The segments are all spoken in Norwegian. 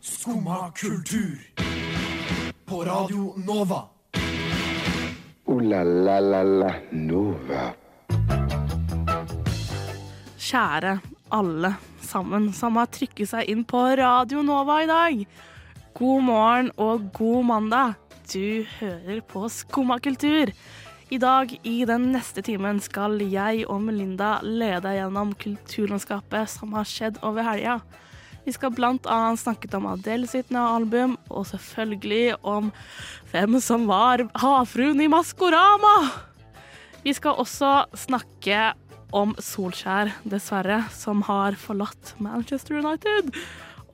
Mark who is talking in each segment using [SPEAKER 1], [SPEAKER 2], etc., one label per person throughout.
[SPEAKER 1] Skumma kultur. På Radio Nova.
[SPEAKER 2] Ooh la la la la Nova.
[SPEAKER 3] kjære alle sammen som har trykket seg inn på Radio Nova i dag. God morgen og god mandag. Du hører på Skumma kultur. I dag, i den neste timen, skal jeg og Melinda lede deg gjennom kulturlandskapet som har skjedd over helga. Vi skal blant annet snakke om Adele sitt nye album, og selvfølgelig om hvem som var havfruen i Maskorama. Vi skal også snakke om Solskjær, dessverre, som har forlatt Manchester United.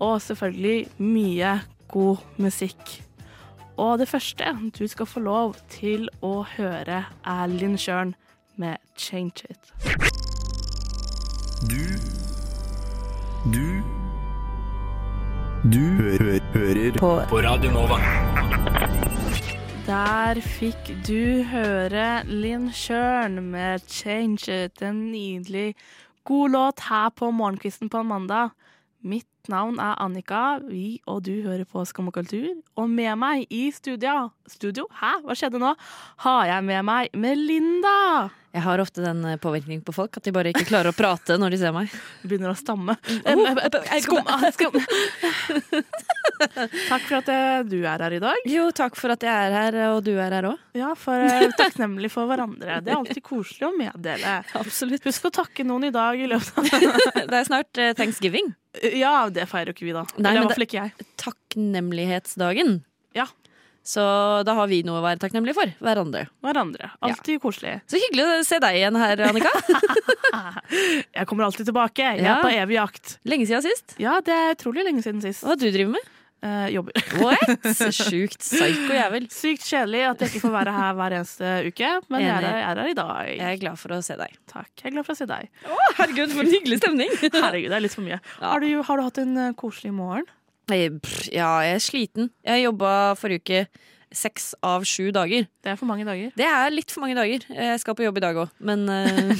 [SPEAKER 3] Og selvfølgelig mye god musikk. Og det første du skal få lov til å høre, er Linn Schjørn med 'Change It'.
[SPEAKER 4] Du Du Du hø hø hører på. Radio Nova.
[SPEAKER 3] Der fikk du høre Linn Schjørn med 'Change It'. En nydelig, god låt her på morgenkvisten på en mandag. Mitt navn er Annika, vi og du hører på Skam og kultur. Og med meg i studio Studio? Hæ, hva skjedde nå? Har jeg med meg Melinda.
[SPEAKER 5] Jeg har ofte den eh, påvirkning på folk at de bare ikke klarer å prate når de ser meg. Oh,
[SPEAKER 3] Begynner å stamme. Skum, ah, skum. Takk for at eh, du er her i dag.
[SPEAKER 5] Jo, takk for at jeg er her, og du er her òg.
[SPEAKER 3] Ja, for eh, takknemlig for hverandre. Det er alltid koselig å meddele.
[SPEAKER 5] Absolutt.
[SPEAKER 3] Husk å takke noen i dag i løpet av
[SPEAKER 5] Det er snart eh, thanksgiving.
[SPEAKER 3] Ja, det feirer jo ikke vi, da.
[SPEAKER 5] Nei,
[SPEAKER 3] Eller i
[SPEAKER 5] men
[SPEAKER 3] hvert fall ikke jeg.
[SPEAKER 5] Takknemlighetsdagen.
[SPEAKER 3] Ja.
[SPEAKER 5] Så da har vi noe å være takknemlige for. Hverandre.
[SPEAKER 3] Hverandre. Alltid koselig.
[SPEAKER 5] Så hyggelig å se deg igjen her, Annika.
[SPEAKER 3] Jeg kommer alltid tilbake. Jeg
[SPEAKER 5] Ja.
[SPEAKER 3] er på evig jakt.
[SPEAKER 5] Lenge siden sist.
[SPEAKER 3] Ja, det er utrolig lenge siden sist.
[SPEAKER 5] Hva du driver med?
[SPEAKER 3] Eh, jobber.
[SPEAKER 5] What? Sjukt psyko jævel.
[SPEAKER 3] Sykt kjedelig at jeg ikke får være her hver eneste uke, men jeg er, her- jeg er her i dag.
[SPEAKER 5] Jeg er glad for å se deg.
[SPEAKER 3] Takk. Jeg er glad for å se deg.
[SPEAKER 5] herregud, for en hyggelig stemning.
[SPEAKER 3] Herregud, det er litt for mye. Har, du, har du hatt en eh, koselig morgen?
[SPEAKER 5] Ja, jeg er sliten. Jeg jobba forrige uke seks av sju dager.
[SPEAKER 3] Det er for mange dager.
[SPEAKER 5] Det er litt for mange dager. Jeg skal på jobb i dag òg, men eh,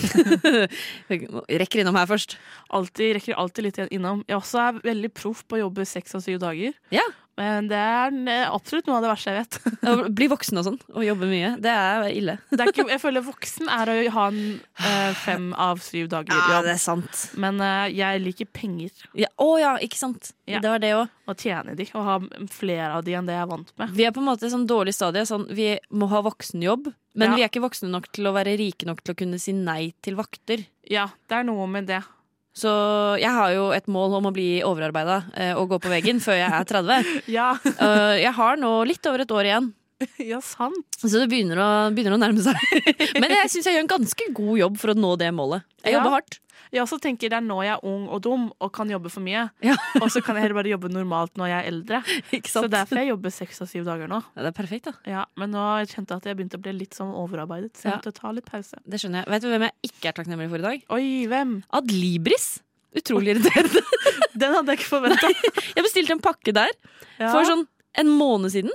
[SPEAKER 5] Rekker innom her først.
[SPEAKER 3] Alltid, rekker alltid litt innom. Jeg også er veldig proff på å jobbe seks og syv dager.
[SPEAKER 5] Ja.
[SPEAKER 3] Men det er eh, absolutt noe av det verste jeg vet.
[SPEAKER 5] Å Bli voksen og sånn, og jobbe mye. Det er ille.
[SPEAKER 3] det er ikke, jeg føler voksen er å ha en eh, fem av syv dager jobb.
[SPEAKER 5] er sant.
[SPEAKER 3] Men eh, jeg liker penger,
[SPEAKER 5] Ja, å ja, ikke sant.
[SPEAKER 3] Ja.
[SPEAKER 5] Det var det òg.
[SPEAKER 3] å tjene de, og ha flere av de enn det jeg er vant med.
[SPEAKER 5] Vi er på en måte i sånn dårlig stadie. Sånn, vi må ha voksenjobb,
[SPEAKER 3] Ja.
[SPEAKER 5] men vi er ikke voksne nok til å være rike nok til å kunne si nei til vakter.
[SPEAKER 3] Ja, det er noe med det.
[SPEAKER 5] Så jeg har jo et mål om å bli overarbeida eh, og gå på veggen før jeg er 30.
[SPEAKER 3] Ja,
[SPEAKER 5] Eh, jeg har nå litt over et år igjen,
[SPEAKER 3] ja sant.
[SPEAKER 5] så det begynner å, begynner å nærme seg. Men jeg syns jeg gjør en ganske god jobb for å nå det målet. Jeg
[SPEAKER 3] Ja.
[SPEAKER 5] jobber hardt.
[SPEAKER 3] Jeg også tenker det er nå jeg er ung og dum og kan jobbe for mye.
[SPEAKER 5] Ja.
[SPEAKER 3] Og så kan jeg heller bare jobbe normalt når jeg er eldre.
[SPEAKER 5] Ikke
[SPEAKER 3] Så
[SPEAKER 5] sant?
[SPEAKER 3] derfor jeg jobber seks av syv dager nå.
[SPEAKER 5] Ja, det er perfekt, da.
[SPEAKER 3] Ja, men nå har jeg kjente jeg at jeg begynte å bli litt sånn overarbeidet, så jeg
[SPEAKER 5] Ja.
[SPEAKER 3] måtte ta litt pause.
[SPEAKER 5] Det skjønner jeg. Vet du hvem jeg ikke er takknemlig for i dag?
[SPEAKER 3] Oi, hvem?
[SPEAKER 5] Adlibris. Utrolig irriterende.
[SPEAKER 3] Den hadde jeg ikke forventa.
[SPEAKER 5] Jeg bestilte en pakke der for sånn en måned siden.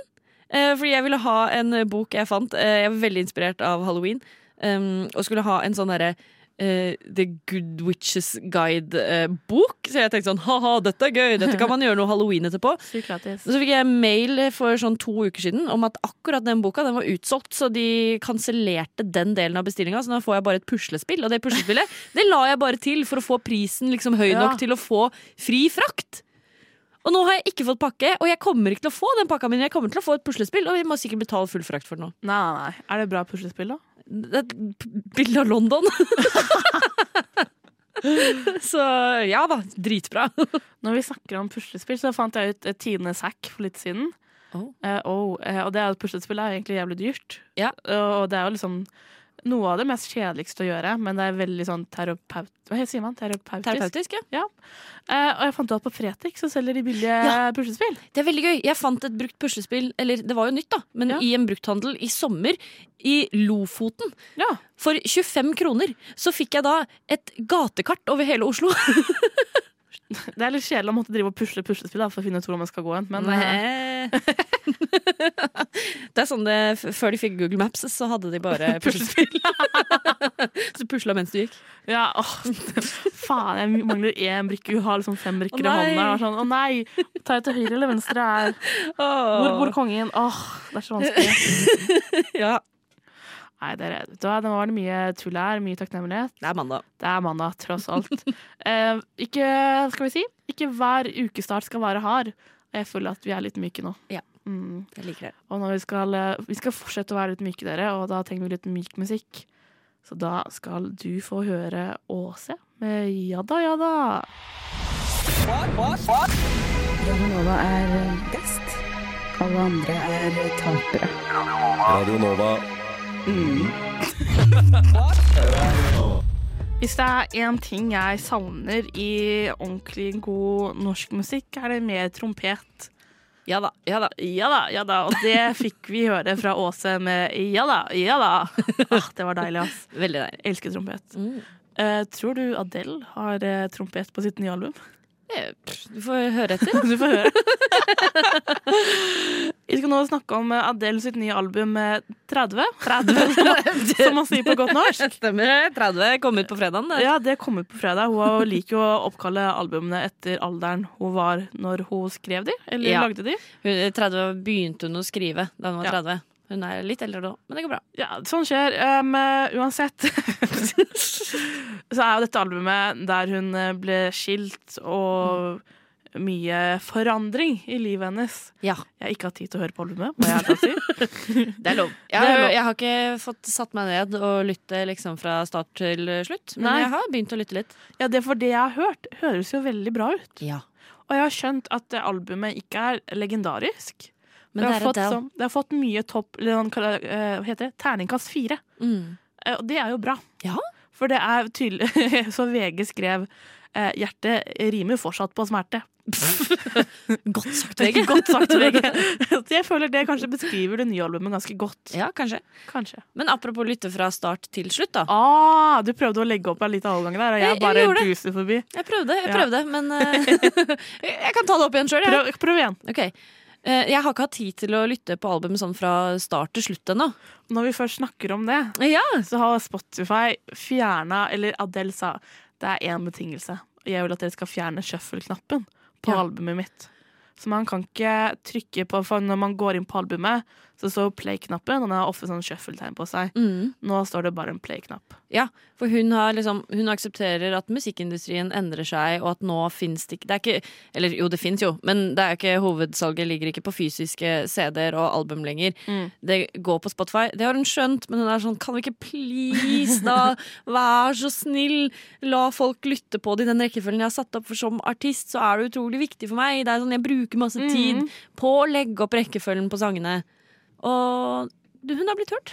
[SPEAKER 5] Eh, fordi jeg ville ha en eh, bok jeg fant. Eh, jeg var veldig inspirert av halloween. em, og skulle ha en sånn derre eh, The Good Witches Guide-bok. så jeg tenkte sånn ha-ha, dette er gøy! Dette kan man gjøre noe halloween etterpå.
[SPEAKER 3] Sykt gratis.
[SPEAKER 5] Og så fikk jeg mail for sånn to uker siden om at akkurat den boka den var utsolgt, så de kansellerte den delen av bestillinga. Så nå får jeg bare et puslespill, og det puslespillet det la jeg bare til for å få prisen liksom høy
[SPEAKER 3] Ja.
[SPEAKER 5] nok til å få fri frakt. Og nå har jeg ikke fått pakke, og jeg kommer ikke til å få den pakka min. Jeg kommer til å få et puslespill, og vi må sikkert betale full frakt for den nå.
[SPEAKER 3] Nei, nei, nei. Er det bra puslespill, da?
[SPEAKER 5] Det er et p- bilde av London. så ja da, dritbra.
[SPEAKER 3] Når vi snakker om puslespill, så fant jeg ut eh, Tidenes hack for litt siden.
[SPEAKER 5] Oh.
[SPEAKER 3] Eh, oh, eh, og det er at puslespill er jo egentlig jævlig dyrt.
[SPEAKER 5] Ja.
[SPEAKER 3] Og det er jo liksom noe av det mest kjedeligste å gjøre, men det er veldig sånn terapeut... Hva sier man? Terapeutisk?
[SPEAKER 5] Terapeutisk, ja.
[SPEAKER 3] Eh, og jeg fant ut at på Fretex så selger de billige
[SPEAKER 5] Ja.
[SPEAKER 3] puslespill.
[SPEAKER 5] Det er veldig gøy. Jeg fant et brukt puslespill, eller det var jo nytt, da, men
[SPEAKER 3] Ja.
[SPEAKER 5] i en brukthandel i sommer i Lofoten.
[SPEAKER 3] Ja.
[SPEAKER 5] For 25 kroner så fikk jeg da et gatekart over hele Oslo.
[SPEAKER 3] Det er litt kjedelig å måtte drive og pusle puslespill da, for å finne ut hvor man skal gå hen. Men eh,
[SPEAKER 5] Nei. det er sånn det, f- Før de fikk Google Maps, så hadde de bare puslespill. så pusla mens du gikk.
[SPEAKER 3] eh, ja, åh, faen, jeg mangler én brikke. Hun har liksom fem brikker i
[SPEAKER 5] Å, nei.
[SPEAKER 3] hånda. Og sånn, å nei, tar jeg til høyre eller venstre? Er? Hvor bor kongen? Åh, det er så vanskelig.
[SPEAKER 5] Ja,
[SPEAKER 3] Nei, dere, vet du hva, Nå var det mye tull her. Mye takknemlighet.
[SPEAKER 5] det er mandag.
[SPEAKER 3] Det er mandag, tross alt. Eh, ikke, skal vi si, ikke hver ukestart skal være hard. Og jeg føler at vi er litt myke nå.
[SPEAKER 5] Ja.
[SPEAKER 3] Mm.
[SPEAKER 5] Jeg liker det.
[SPEAKER 3] Og når vi skal, eh, vi skal fortsette å være litt myke, dere, og da trenger vi litt myk musikk. Så da skal du få høre Åse med Ja da, ja da.
[SPEAKER 6] Radionova er eh, best. Alle andre er eh, tapere.
[SPEAKER 4] Radio Nova.
[SPEAKER 3] Mm. Hvis det er én ting jeg savner i ordentlig god norsk musikk, er det mer trompet.
[SPEAKER 5] Ja da. ja da
[SPEAKER 3] Ja da, ja da. Og det fikk vi høre fra Åse med Ja da, ja da. Ah, det var deilig, ass.
[SPEAKER 5] Veldig deilig.
[SPEAKER 3] Jeg elsker trompet.
[SPEAKER 5] Mm.
[SPEAKER 3] Eh, tror du Adele har eh, trompet på sitt nye album?
[SPEAKER 5] Eh, pff, Du får høre etter.
[SPEAKER 3] Du får høre. Vi skal nå snakke om eh, Adele sitt nye album eh, 30, som man sier på godt norsk.
[SPEAKER 5] Stemmer. 30 kom ut på fredagen. det.
[SPEAKER 3] Ja, Det kom ut på fredag. Hun liker jo å oppkalle albumene etter alderen hun var når hun skrev de, eller
[SPEAKER 5] Ja.
[SPEAKER 3] lagde de.
[SPEAKER 5] Hun- 30 begynte hun å skrive da hun var
[SPEAKER 3] Ja.
[SPEAKER 5] 30. Hun er litt eldre nå, men det går bra.
[SPEAKER 3] Ja, sånn skjer. Um, eh, uansett så er jo dette albumet der hun eh, ble skilt og mye forandring i livet hennes.
[SPEAKER 5] Ja,
[SPEAKER 3] Jeg har ikke hatt tid til å høre på albumet, må jeg ærlig si.
[SPEAKER 5] Det er lov. Jeg,
[SPEAKER 3] Det er lov.
[SPEAKER 5] jeg har ikke fått satt meg ned og lytte liksom fra start til slutt, men
[SPEAKER 3] Nei.
[SPEAKER 5] jeg har begynt å lytte litt.
[SPEAKER 3] Ja, det er for det jeg har hørt, høres jo veldig bra ut.
[SPEAKER 5] Ja.
[SPEAKER 3] Og jeg har skjønt at det albumet ikke er legendarisk. det,
[SPEAKER 5] Men det
[SPEAKER 3] har
[SPEAKER 5] er
[SPEAKER 3] fått,
[SPEAKER 5] Adele.
[SPEAKER 3] sånn- det har fått mye topp eller sånn, kalla- eh, Hva heter det? Terningkast fire.
[SPEAKER 5] Mm.
[SPEAKER 3] Eh, Og det er jo bra.
[SPEAKER 5] Ja.
[SPEAKER 3] For det er tydelig Så VG skrev eh, 'Hjertet rimer fortsatt på smerte'.
[SPEAKER 5] Godt sagt,
[SPEAKER 3] Det er
[SPEAKER 5] VG.
[SPEAKER 3] ikke godt sagt, VG. Så jeg føler det kanskje beskriver det nye albumet ganske godt.
[SPEAKER 5] Ja, kanskje.
[SPEAKER 3] Kanskje.
[SPEAKER 5] Men apropos lytte fra start til slutt, da.
[SPEAKER 3] Ah, du prøvde å legge opp en liten overgang der, og
[SPEAKER 5] Jeg-
[SPEAKER 3] jeg
[SPEAKER 5] jeg
[SPEAKER 3] bare
[SPEAKER 5] gjorde det.
[SPEAKER 3] duser forbi.
[SPEAKER 5] Jeg prøvde, jeg
[SPEAKER 3] Ja.
[SPEAKER 5] prøvde, men eh, Jeg kan ta det opp igjen sjøl, jeg.
[SPEAKER 3] Prøv, prøv igjen.
[SPEAKER 5] Ok. Eh, jeg har ikke hatt tid til å lytte på albumet sånn fra start til slutt ennå.
[SPEAKER 3] Når vi først snakker om det,
[SPEAKER 5] Ja.
[SPEAKER 3] så har Spotify fjerna Eller Adele sa det er én betingelse. Jeg vil at dere skal fjerne shuffle-knappen på
[SPEAKER 5] Ja.
[SPEAKER 3] albumet mitt. Så man kan ikke trykke på For når man går inn på albumet, så står play-knappen, og den har ofte sånn shuffle-tegn på seg.
[SPEAKER 5] Mm.
[SPEAKER 3] Nå står det bare en play-knapp.
[SPEAKER 5] Ja, for hun, har liksom, hun aksepterer at musikkindustrien endrer seg, og at nå fins det ikke Det er ikke Eller jo, det fins jo, men det er jo ikke hovedsalget ligger ikke på fysiske CD-er og album lenger.
[SPEAKER 3] Mm.
[SPEAKER 5] Det går på Spotify. Det har hun skjønt, men hun er sånn Kan vi ikke please, da? Vær så snill! La folk lytte på det i den rekkefølgen jeg har satt opp, for som artist så er det utrolig viktig for meg. Det er sånn, Jeg bruker masse tid på å legge opp rekkefølgen på sangene. Og du, hun har blitt hørt.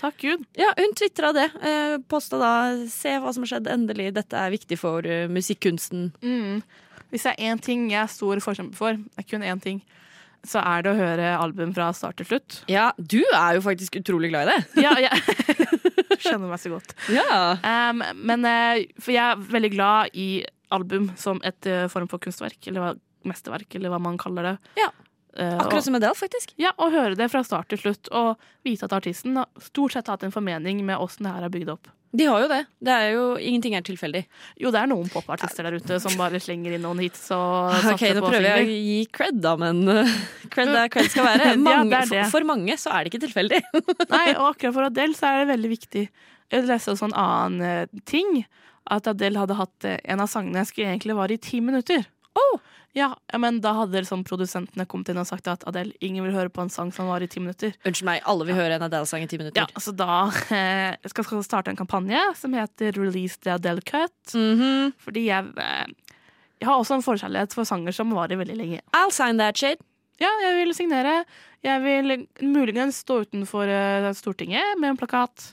[SPEAKER 3] Takk Gud.
[SPEAKER 5] Ja, hun tvitra det. Eh, Posta da 'se hva som har skjedd', endelig. Dette er viktig for eh, musikkunsten.
[SPEAKER 3] Mm. Hvis det er én ting jeg er stor forkjemper for, det er kun én ting, så er det å høre album fra start til slutt.
[SPEAKER 5] Ja, du er jo faktisk utrolig glad i det.
[SPEAKER 3] Ja, jeg skjønner meg så godt.
[SPEAKER 5] Ja.
[SPEAKER 3] Um, men eh, For jeg er veldig glad i album som et eh, form for kunstverk, eller hva, mesterverk, eller hva man kaller det.
[SPEAKER 5] Ja.
[SPEAKER 3] Eh,
[SPEAKER 5] Akkurat
[SPEAKER 3] og,
[SPEAKER 5] som Adele, faktisk.
[SPEAKER 3] ja, og høre det fra start til slutt, og vite at artisten har stort sett har hatt en formening med åssen det her er bygd opp.
[SPEAKER 5] De har jo det. det er jo, ingenting er tilfeldig.
[SPEAKER 3] Jo, det er noen popartister der ute som bare slenger inn noen hits og
[SPEAKER 5] Ok,
[SPEAKER 3] satser
[SPEAKER 5] Nå
[SPEAKER 3] på
[SPEAKER 5] prøver jeg å
[SPEAKER 3] singler.
[SPEAKER 5] gi cred, da, men eh, cred er cred skal være.
[SPEAKER 3] Ja, det er
[SPEAKER 5] Mange,
[SPEAKER 3] det.
[SPEAKER 5] For, for mange så er det ikke tilfeldig.
[SPEAKER 3] Nei, og akkurat for Adele så er det veldig viktig. Jeg leste også en annen eh, ting. At Adele hadde hatt eh, en av sangene jeg skulle egentlig vare i ti minutter.
[SPEAKER 5] Oh!
[SPEAKER 3] Ja, men da hadde liksom produsentene kommet inn og sagt at Adele, ingen vil høre på en sang som varer i ti minutter.
[SPEAKER 5] Unnskyld meg, alle vil høre en Adele-sang i ti minutter.
[SPEAKER 3] Ja, Så da eh, skal skal jeg starte en kampanje som heter Release the Adele Cut.
[SPEAKER 5] Mhm.
[SPEAKER 3] Fordi jeg, eh, jeg har også en forkjærlighet for sanger som varer veldig lenge.
[SPEAKER 5] I'll sign that shit.
[SPEAKER 3] Ja, jeg vil signere. Jeg vil muligens stå utenfor eh, Stortinget med en plakat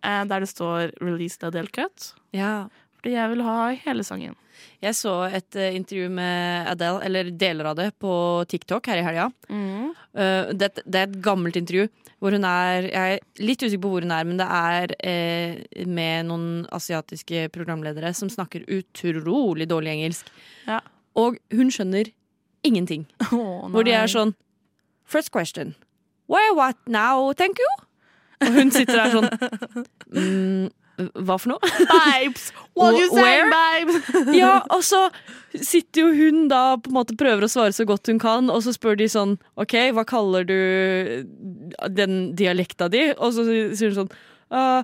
[SPEAKER 3] eh, der det står 'Release the Adele Cut'.
[SPEAKER 5] Ja.
[SPEAKER 3] Fordi jeg vil ha hele sangen.
[SPEAKER 5] Jeg så et eh, intervju med Adele, eller deler av det, på TikTok her i helga.
[SPEAKER 3] Mm.
[SPEAKER 5] Eh, det, det er et gammelt intervju hvor hun er Jeg er litt usikker på hvor hun er, men det er eh, med noen asiatiske programledere som snakker utrolig dårlig engelsk.
[SPEAKER 3] Ja.
[SPEAKER 5] Og hun skjønner ingenting. Hvor de er sånn First question. Why what now, thank you? Og hun sitter der sånn mm, Hva for noe?
[SPEAKER 3] Babes! What you say,
[SPEAKER 5] Where?
[SPEAKER 3] babes?
[SPEAKER 5] Ja, og så sitter jo hun da på en måte prøver å svare så godt hun kan, og så spør de sånn OK, hva kaller du den dialekta di? Og så sier hun sånn «Ah,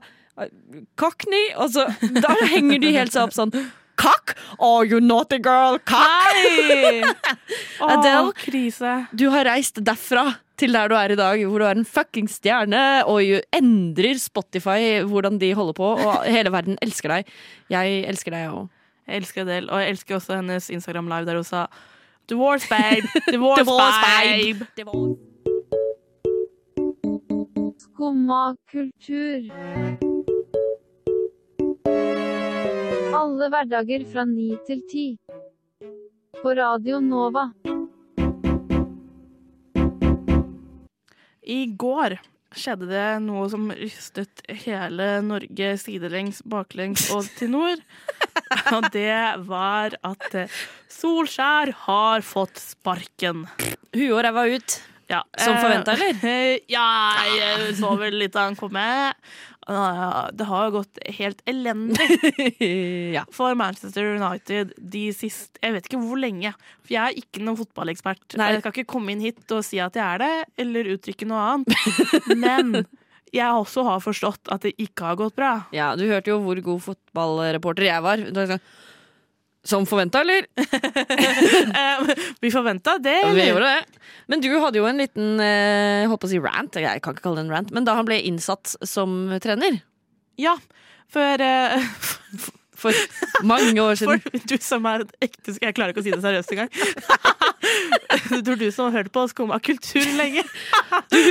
[SPEAKER 5] Cockney. Og så da henger de helt seg opp sånn Cock! Oh, you naughty girl! Cock!
[SPEAKER 3] Å,
[SPEAKER 5] Adele.
[SPEAKER 3] krise.
[SPEAKER 5] Du har reist derfra til der du er i dag, hvor du er en fucking stjerne, og you endrer Spotify hvordan de holder på, og hele verden elsker deg. Jeg elsker deg òg.
[SPEAKER 3] Jeg elsker Adele, og jeg elsker også hennes Instagram live der hun sa Divorce babe, divorce,
[SPEAKER 5] Divorce, babe.
[SPEAKER 3] babe.
[SPEAKER 7] Skumma kultur. Alle hverdager fra 9 til 10. På Radio Nova.
[SPEAKER 3] I går skjedde det noe som rystet hele Norge sidelengs, baklengs og til nord. Og det var at eh, Solskjær har fått sparken.
[SPEAKER 5] Huet og ræva ut.
[SPEAKER 3] Ja,
[SPEAKER 5] Som
[SPEAKER 3] eh,
[SPEAKER 5] forventet, eller?
[SPEAKER 3] Ja, jeg så vel litt da han kom med. Ah, Det har jo gått helt elendig
[SPEAKER 5] ja.
[SPEAKER 3] for Manchester United de siste Jeg vet ikke hvor lenge, for jeg er ikke noen fotballekspert.
[SPEAKER 5] Nei.
[SPEAKER 3] Jeg skal ikke komme inn hit og si at jeg er det, eller uttrykke noe annet. Men jeg også har forstått at det ikke har gått bra.
[SPEAKER 5] ja, du hørte jo hvor god fotballreporter jeg var. Du er sånn, Som forventa, eller?
[SPEAKER 3] Eh, Vi forventa det,
[SPEAKER 5] Ja, vi
[SPEAKER 3] eller?
[SPEAKER 5] gjorde det. Men du hadde jo en liten eh, holdt på å si rant, jeg kan ikke kalle det en rant, men da han ble innsatt som trener
[SPEAKER 3] Ja, for eh,
[SPEAKER 5] for mange år siden
[SPEAKER 3] For du som er et ekte Jeg klarer ikke å si det seriøst engang. Du tror du som har hørt på oss komme av kultur lenge.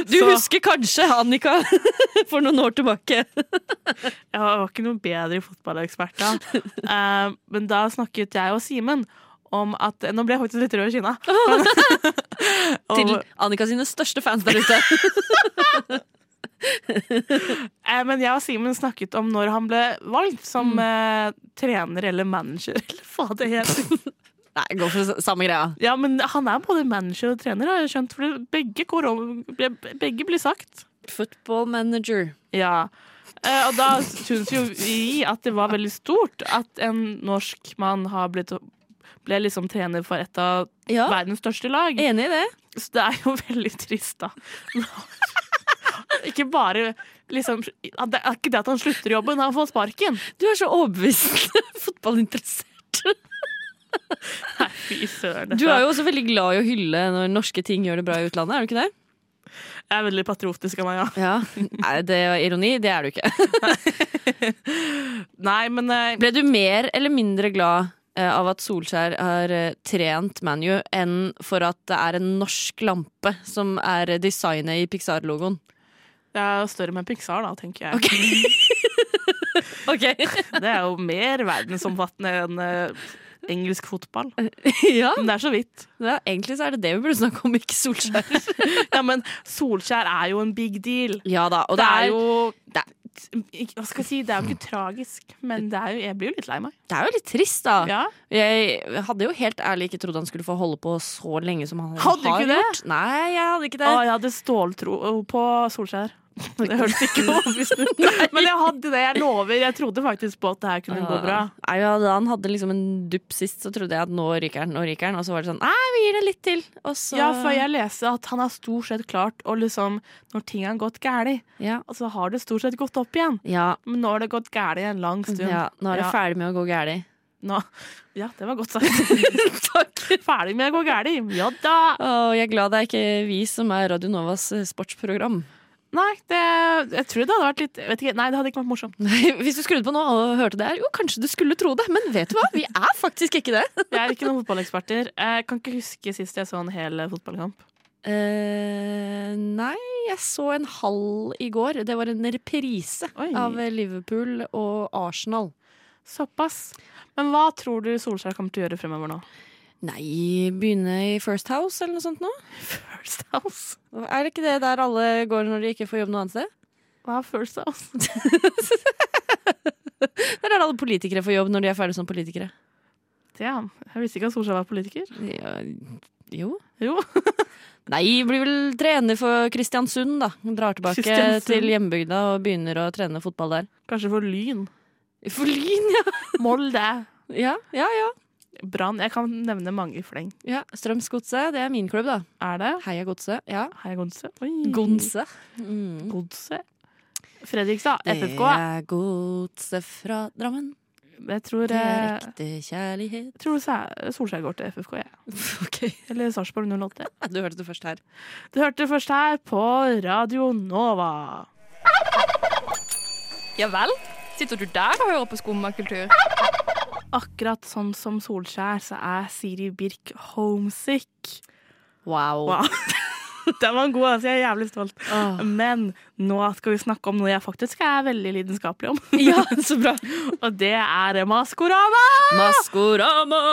[SPEAKER 5] Du
[SPEAKER 3] Så-
[SPEAKER 5] husker kanskje Annika for noen år tilbake.
[SPEAKER 3] Jeg var var ikke noen bedre fotballekspert da. Eh, men da snakket jeg og Simen om at Nå ble jeg faktisk litt rød i kinna.
[SPEAKER 5] Til
[SPEAKER 3] Og-
[SPEAKER 5] Annika sine største fans der ute.
[SPEAKER 3] eh, men jeg og Simen snakket om når han ble valgt som eh, trener eller manager. Eller faen det heter.
[SPEAKER 5] Nei, går for samme greia.
[SPEAKER 3] Ja, men han er både manager og trener, har jeg skjønt. For det- begge, går om- be- begge blir sagt.
[SPEAKER 5] Football manager.
[SPEAKER 3] Ja. Eh, og da syns jo vi at det var veldig stort at en norsk mann har blitt ble liksom trener for et av
[SPEAKER 5] Ja,
[SPEAKER 3] verdens største lag.
[SPEAKER 5] enig i det.
[SPEAKER 3] Så det er jo veldig trist, da. ikke bare liksom Det er ikke det at han slutter jobben, han får sparken.
[SPEAKER 5] Du er så overbevist fotballinteressert.
[SPEAKER 3] Nei, fy søren. dette-
[SPEAKER 5] Du er jo også veldig glad i å hylle når norske ting gjør det bra i utlandet, er du ikke det?
[SPEAKER 3] Jeg er veldig patriotisk av meg, ja.
[SPEAKER 5] Ja. Nei, det var ironi. Det er du ikke.
[SPEAKER 3] Nei, men eh,
[SPEAKER 5] Ble du mer eller mindre glad eh, av at Solskjær har eh, trent ManU, enn for at det er en norsk lampe som er eh, designet i Pixar-logoen?
[SPEAKER 3] jeg er jo større med Pixar, da, tenker jeg.
[SPEAKER 5] Ok. ok.
[SPEAKER 3] Det er jo mer verdensomfattende enn eh, engelsk fotball.
[SPEAKER 5] ja.
[SPEAKER 3] Men det er så vidt.
[SPEAKER 5] ja, egentlig så er det det vi burde snakke om, ikke Solskjær.
[SPEAKER 3] Ja, men Solskjær er jo en big deal.
[SPEAKER 5] Ja da, og
[SPEAKER 3] Det er jo
[SPEAKER 5] det er,
[SPEAKER 3] ikke- Hva skal jeg si, det er jo ikke tragisk, men det er jo, jeg blir jo litt lei meg.
[SPEAKER 5] det er jo litt trist, da.
[SPEAKER 3] Ja.
[SPEAKER 5] Jeg hadde jo helt ærlig ikke trodd han skulle få holde på så lenge som han
[SPEAKER 3] Hadde du
[SPEAKER 5] har
[SPEAKER 3] ikke det?
[SPEAKER 5] gjort. Nei, jeg hadde ikke det.
[SPEAKER 3] Å, jeg hadde ståltro eh, på Solskjær. Det hørtes ikke overbevisende ut. Men jeg hadde det, jeg lover. Jeg trodde faktisk på at det her kunne gå bra.
[SPEAKER 5] Nei, ja, da han hadde liksom en dupp sist, så trodde jeg at nå ryker han, nå ryker han. Og så var det sånn Nei, vi gir det litt til. Og så
[SPEAKER 3] Ja, for jeg leste at han har stort sett klart å liksom Når ting har gått gærent,
[SPEAKER 5] ja.
[SPEAKER 3] så har det stort sett gått opp igjen.
[SPEAKER 5] Ja,
[SPEAKER 3] Men nå har det gått gærent i en lang stund.
[SPEAKER 5] ja, nå er det
[SPEAKER 3] Ja.
[SPEAKER 5] ferdig med å gå gæli.
[SPEAKER 3] Nå, ja, det var godt sagt. Takk. Ferdig med å gå gærent. Ja da.
[SPEAKER 5] Og jeg er glad det er ikke vi som er Radio Novas eh, sportsprogram.
[SPEAKER 3] Nei, det, jeg tror det hadde vært litt vet ikke, Nei, det hadde ikke vært morsomt.
[SPEAKER 5] Hvis du skrudde på nå og hørte det her, jo, kanskje du skulle tro det, men vet du hva? Vi er faktisk ikke det.
[SPEAKER 3] Jeg er ikke noen fotballeksperter. Jeg kan ikke huske sist jeg så en hel fotballkamp.
[SPEAKER 5] Eh, nei, jeg så en halv i går. Det var en reprise
[SPEAKER 3] Oi.
[SPEAKER 5] av Liverpool og Arsenal.
[SPEAKER 3] Såpass. Men hva tror du Solskjær kommer til å gjøre fremover nå?
[SPEAKER 5] Nei, begynne i First House eller noe sånt nå.
[SPEAKER 3] First House.
[SPEAKER 5] Er det ikke det der alle går når de ikke får jobb noe annet sted?
[SPEAKER 3] Hva er First House?
[SPEAKER 5] Der er det alle politikere får jobb når de er ferdig som politikere.
[SPEAKER 3] Ja, jeg visste ikke at Solskjær var politiker.
[SPEAKER 5] Ja, jo.
[SPEAKER 3] Jo.
[SPEAKER 5] Nei, blir vel trener for Kristiansund, da. Drar tilbake
[SPEAKER 3] Kristiansund.
[SPEAKER 5] til hjembygda og begynner å trene fotball der.
[SPEAKER 3] Kanskje for Lyn.
[SPEAKER 5] For Lyn, ja!
[SPEAKER 3] Molde.
[SPEAKER 5] Ja, ja, ja.
[SPEAKER 3] Brann. Jeg kan nevne mange i fleng.
[SPEAKER 5] ja. Strømsgodset, det er min klubb, da.
[SPEAKER 3] Er det?
[SPEAKER 5] Heia Godset. Ja.
[SPEAKER 3] Heia Gonse. Oi.
[SPEAKER 5] Gonse. Mm.
[SPEAKER 3] Godse. Fredrikstad. FFK.
[SPEAKER 5] Det er godset fra Drammen.
[SPEAKER 3] Jeg tror,
[SPEAKER 5] Det er
[SPEAKER 3] eh,
[SPEAKER 5] ekte kjærlighet.
[SPEAKER 3] jeg tror Sæ- Solskjær går til FFK, jeg.
[SPEAKER 5] Ok,
[SPEAKER 3] Eller Sarpsborg 08.
[SPEAKER 5] Du hørte det først her.
[SPEAKER 3] Du hørte først her på Radio Nova.
[SPEAKER 8] Ja vel? Sitter du der og hører på skummakultur?
[SPEAKER 3] Akkurat sånn som Solskjær, så er Siri Birk homesick.
[SPEAKER 5] Wow. Ah.
[SPEAKER 3] Wow. Den var god, altså. Jeg er jævlig stolt.
[SPEAKER 5] Åh.
[SPEAKER 3] Men nå skal vi snakke om noe jeg faktisk er veldig lidenskapelig om.
[SPEAKER 5] Ja, så bra.
[SPEAKER 3] Og det er Maskorama!
[SPEAKER 5] Maskorama!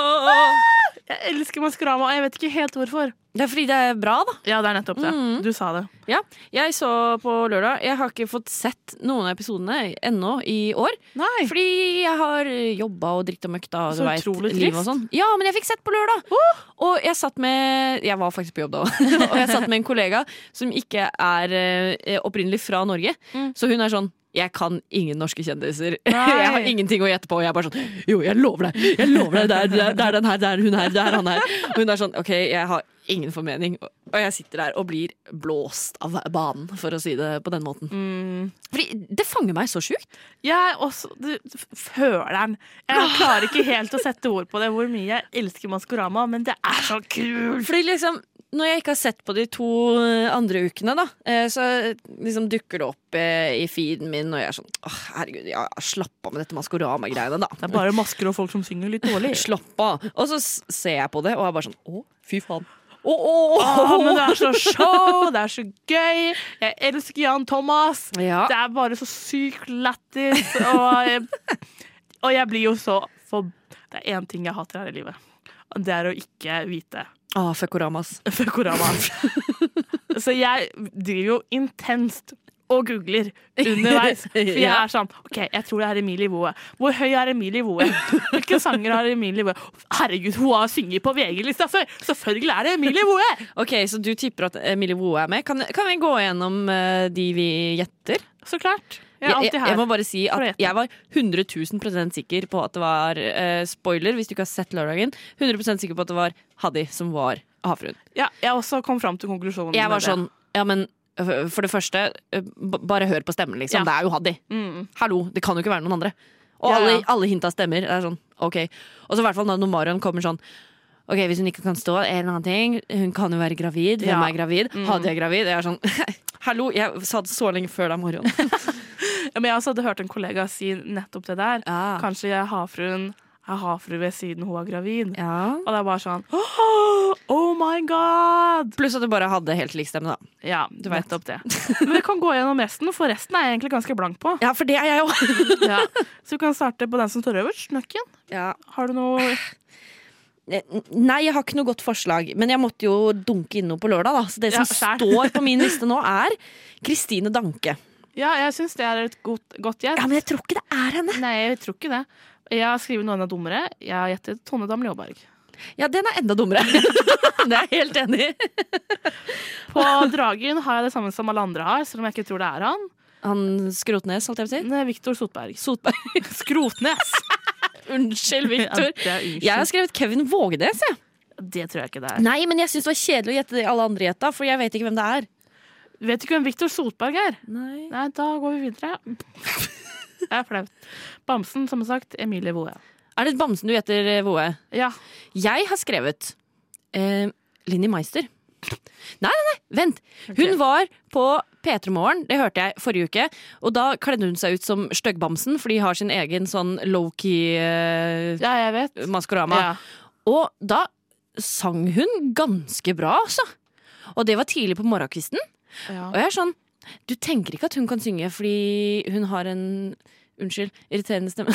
[SPEAKER 3] Jeg elsker Maskorama, og jeg vet ikke helt hvorfor.
[SPEAKER 5] Det er fordi det er bra, da.
[SPEAKER 3] Ja, det er nettopp det.
[SPEAKER 8] Mm.
[SPEAKER 5] Mhm.
[SPEAKER 3] Du sa det.
[SPEAKER 5] Ja, jeg så på lørdag. Jeg har ikke fått sett noen av episodene ennå i år.
[SPEAKER 3] Nei.
[SPEAKER 5] Fordi jeg har jobba og dritt og møkta. Og
[SPEAKER 3] Så
[SPEAKER 5] du vet,
[SPEAKER 3] utrolig
[SPEAKER 5] liv og
[SPEAKER 3] trist.
[SPEAKER 5] sånn. Ja, men jeg fikk sett på lørdag! Og jeg satt med Jeg var faktisk på jobb da òg. og jeg satt med en kollega som ikke er eh, opprinnelig fra Norge.
[SPEAKER 3] Mm.
[SPEAKER 5] Så hun er sånn jeg kan ingen norske kjendiser.
[SPEAKER 3] Nei.
[SPEAKER 5] Jeg har ingenting å gjette på. Og jeg er bare sånn Jo, jeg lover deg! Jeg lover deg! Det er, det er, det er den her, det er hun her, det er han her. Og hun er sånn OK, jeg har ingen formening. Og jeg sitter der og blir blåst av banen, for å si det på den måten.
[SPEAKER 3] Mm.
[SPEAKER 5] Fordi det fanger meg så sjukt.
[SPEAKER 3] Jeg også du, f- føler den. Jeg klarer ikke helt å sette ord på det, hvor mye jeg elsker Maskorama, men det er så kult!
[SPEAKER 5] Fordi liksom, når jeg ikke har sett på de to eh, andre ukene, da, eh, så liksom dukker det opp eh, i feeden min, og jeg er sånn Åh, herregud, ja, slapp av med dette Maskorama-greiene, da.
[SPEAKER 3] Det er bare masker og folk som synger litt dårlig.
[SPEAKER 5] Slapp av. Og så s- ser jeg på det, og er bare sånn Å, fy faen. Å, å,
[SPEAKER 3] Å, men det
[SPEAKER 5] å.
[SPEAKER 3] er så show, det er så gøy. Jeg elsker Jan Thomas.
[SPEAKER 5] Ja.
[SPEAKER 3] Det er bare så sykt lættis, og, jeg- og jeg blir jo så for, Det er én ting jeg hater her i livet, og det er å ikke vite
[SPEAKER 5] Ah, Fuckoramas.
[SPEAKER 3] Fukorama. Så jeg driver jo intenst og googler underveis. For jeg
[SPEAKER 5] Ja.
[SPEAKER 3] er sånn OK, jeg tror det er Emilie Woe. Hvor høy er Emilie Woe? Hvilke sanger har Emilie Woe? Herregud, hun har sunget på VG-lista før! Selvfølgelig er det Emilie Woe!
[SPEAKER 5] Ok, så du tipper at Emilie Woe er med. Kan, kan vi gå gjennom eh, de vi gjetter?
[SPEAKER 3] Så klart. Jeg er alltid
[SPEAKER 5] jeg, jeg
[SPEAKER 3] her.
[SPEAKER 5] må bare si
[SPEAKER 3] For å gjette.
[SPEAKER 5] at jeg var 100 000 sikker på at det var eh, spoiler, hvis du ikke har sett lørdagen. 100 sikker på at det var Haddy som var havfruen.
[SPEAKER 3] Ja, jeg også kom fram til konklusjonen.
[SPEAKER 5] Jeg
[SPEAKER 3] med
[SPEAKER 5] var
[SPEAKER 3] det.
[SPEAKER 5] sånn, ja men øh, for det første, øh, b- bare hør på stemmen, liksom.
[SPEAKER 3] Ja.
[SPEAKER 5] Det er jo Haddy.
[SPEAKER 3] Mm.
[SPEAKER 5] Hallo, det kan jo ikke være noen andre. Og
[SPEAKER 3] Ja,
[SPEAKER 5] alle,
[SPEAKER 3] ja.
[SPEAKER 5] alle hinta stemmer. Det er sånn, ok. Og så i hvert fall da når Marion kommer sånn Ok, Hvis hun ikke kan stå, en annen ting Hun kan jo være gravid. Hvem
[SPEAKER 3] Ja. Mm.
[SPEAKER 5] er gravid? Hadde jeg gravid? Jeg er sånn Hallo, jeg satt så lenge før deg, Marion.
[SPEAKER 3] Ja, men jeg også hadde hørt en kollega si nettopp det der. Kanskje jeg er havfruen er havfrue ved siden hun er gravid.
[SPEAKER 5] Ja.
[SPEAKER 3] Og det er bare sånn «Åh, Oh my god!
[SPEAKER 5] Pluss at du bare hadde helt lik stemme, da.
[SPEAKER 3] Ja, du vet opp det. Men vi kan gå gjennom resten, for resten er jeg egentlig ganske blank på.
[SPEAKER 5] Ja, for det er jeg òg.
[SPEAKER 3] Ja. Så vi kan starte på den som står øverst, nøkken. Har du noe
[SPEAKER 5] Eh, Nei, jeg har ikke noe godt forslag, men jeg måtte jo dunke inn noe på lørdag. Da. Så det
[SPEAKER 3] Ja,
[SPEAKER 5] som
[SPEAKER 3] skjær.
[SPEAKER 5] står på min liste nå, er Kristine Danke.
[SPEAKER 3] Ja, jeg syns det er et godt, godt gjett.
[SPEAKER 5] Ja, Men jeg tror ikke det er henne.
[SPEAKER 3] Nei, jeg tror ikke det. Jeg har skrevet noe enda dummere. Jeg har gjettet Tonne Dam Ljåberg.
[SPEAKER 5] Ja, den er enda dummere. det er jeg helt enig i.
[SPEAKER 3] På Dragen har jeg det samme som alle andre har, selv om jeg ikke tror det er han.
[SPEAKER 5] Han Skrotnes, holdt jeg på å si.
[SPEAKER 3] Nei, Victor Eh. Sotberg.
[SPEAKER 5] Sotberg.
[SPEAKER 3] Skrotnes!
[SPEAKER 5] Unnskyld, Victor.
[SPEAKER 3] Ja, det, er unnskyld.
[SPEAKER 5] Jeg har skrevet Kevin Vågenes. jeg.
[SPEAKER 3] det tror jeg ikke det er.
[SPEAKER 5] Nei, men jeg syns det var kjedelig å gjette det alle andre gjetta, for jeg vet ikke hvem det er.
[SPEAKER 3] Vet du ikke hvem Victor Sotberg er?
[SPEAKER 5] Nei.
[SPEAKER 3] Nei, da går vi videre. Det er flaut. Bamsen, som sagt. Emilie Woe.
[SPEAKER 5] Er det Bamsen du gjetter, eh, Voe?
[SPEAKER 3] Ja,
[SPEAKER 5] Jeg har skrevet eh, Linni Meister. Nei, nei, nei, vent. Hun var på P3 Morgen, det hørte jeg forrige uke. Og da kledde hun seg ut som Styggbamsen, for de har sin egen sånn low-key eh,
[SPEAKER 3] ja jeg vet.
[SPEAKER 5] maskorama.
[SPEAKER 3] Ja.
[SPEAKER 5] Og da sang hun ganske bra, altså. Og det var tidlig på morgenkvisten. Og jeg er sånn Du tenker ikke at hun kan synge fordi hun har en Unnskyld, irriterende stemme.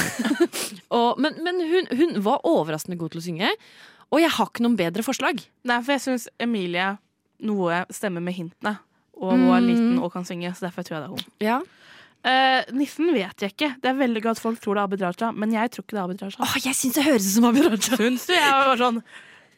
[SPEAKER 5] og, men men hun, hun var overraskende god til å synge. Og jeg har ikke noen bedre forslag.
[SPEAKER 3] Nei, for jeg syns Emilie noe stemmer med hintene. Og hun er
[SPEAKER 5] Mm.
[SPEAKER 3] liten og kan synge, så derfor tror jeg det er hun.
[SPEAKER 5] Ja.
[SPEAKER 3] Eh, nissen vet jeg ikke. Det er veldig godt at folk tror det er Abid Raja, men jeg tror ikke det er Abid Raja.
[SPEAKER 5] Åh, jeg syns det høres ut som Abid Raja.
[SPEAKER 3] Syns du? Jeg var sånn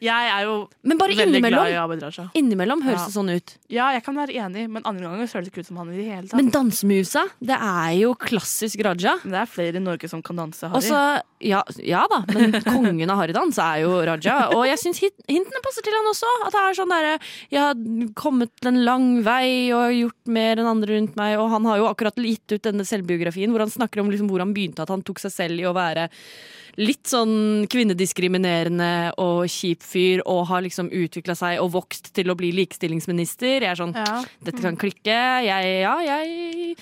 [SPEAKER 3] Jeg er jo
[SPEAKER 5] Men bare
[SPEAKER 3] veldig glad i
[SPEAKER 5] innimellom.
[SPEAKER 3] Abid Raja.
[SPEAKER 5] Innimellom høres
[SPEAKER 3] Ja.
[SPEAKER 5] det sånn ut.
[SPEAKER 3] Ja, jeg kan være enig, men andre ganger så høres det ikke ut som han i det hele tatt.
[SPEAKER 5] Men dansemusa, det er jo klassisk Raja.
[SPEAKER 3] Men det er flere i Norge som kan danse,
[SPEAKER 5] Og
[SPEAKER 3] Harry.
[SPEAKER 5] så, ja, ja da, men kongen av harrydans er jo Raja. Og jeg syns hit- hintene passer til han også. At det er sånn derre Jeg har kommet en lang vei og gjort mer enn andre rundt meg. Og han har jo akkurat gitt ut denne selvbiografien hvor han snakker om liksom hvor han begynte, at han tok seg selv i å være litt sånn kvinnediskriminerende og kjip fyr. Og har liksom utvikla seg og vokst til å bli likestillingsminister. Jeg er sånn
[SPEAKER 3] ja.
[SPEAKER 5] Dette kan klikke. Jeg, ja, jeg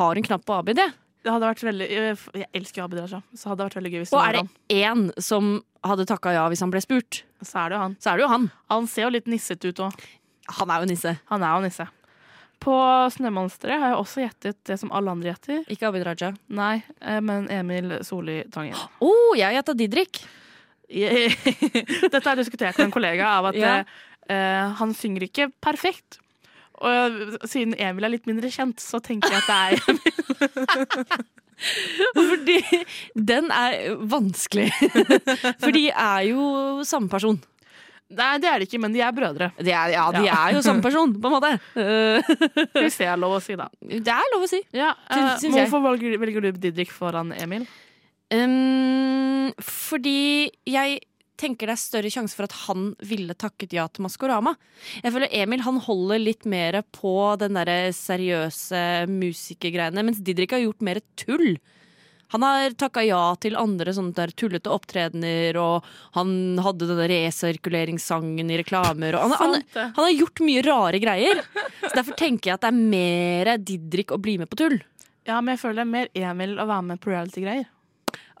[SPEAKER 5] har en knapp på Abid, jeg.
[SPEAKER 3] Det hadde vært veldig eh, Jeg elsker Abid Raja, så hadde det vært veldig gøy hvis det
[SPEAKER 5] Og
[SPEAKER 3] var
[SPEAKER 5] er det
[SPEAKER 3] han.
[SPEAKER 5] én som hadde takka ja hvis han ble spurt,
[SPEAKER 3] Så er det jo han.
[SPEAKER 5] så er det jo han.
[SPEAKER 3] Han ser jo litt nissete ut òg.
[SPEAKER 5] Han er jo nisse.
[SPEAKER 3] Han er jo nisse. På Snømonsteret har jeg også gjettet det som alle andre gjetter.
[SPEAKER 5] Ikke Abid Raja.
[SPEAKER 3] Nei, eh, men Emil Solli Tangen.
[SPEAKER 5] Å, jeg gjetta Didrik.
[SPEAKER 3] Jeg- Dette har jeg diskutert med en kollega av at
[SPEAKER 5] Ja.
[SPEAKER 3] eh, eh, han synger ikke perfekt. Og siden Emil er litt mindre kjent, så tenker jeg at det er
[SPEAKER 5] Fordi den er vanskelig. For de er jo samme person.
[SPEAKER 3] Nei, det er det ikke, men de er brødre.
[SPEAKER 5] De er, ja, de
[SPEAKER 3] Ja.
[SPEAKER 5] er jo samme person, på en måte. Eh,
[SPEAKER 3] Hvis det er lov å si, da.
[SPEAKER 5] Det er lov å si.
[SPEAKER 3] Ja, eh,
[SPEAKER 5] Syns- syns jeg.
[SPEAKER 3] hvorfor velger, velger du Didrik foran Emil?
[SPEAKER 5] Um, fordi jeg tenker det er større sjanse for at han ville takket ja til Maskorama. Jeg føler Emil han holder litt mer på den der seriøse musikergreiene, mens Didrik har gjort mer tull. Han har takka ja til andre sånne der tullete opptredener, og han hadde denne resirkuleringssangen i reklamer. Og han, han,
[SPEAKER 3] Sant det.
[SPEAKER 5] han har gjort mye rare greier. Så Derfor tenker jeg at det er mer Didrik å bli med på tull.
[SPEAKER 3] Ja, men jeg føler det er mer Emil å være med på reality-greier.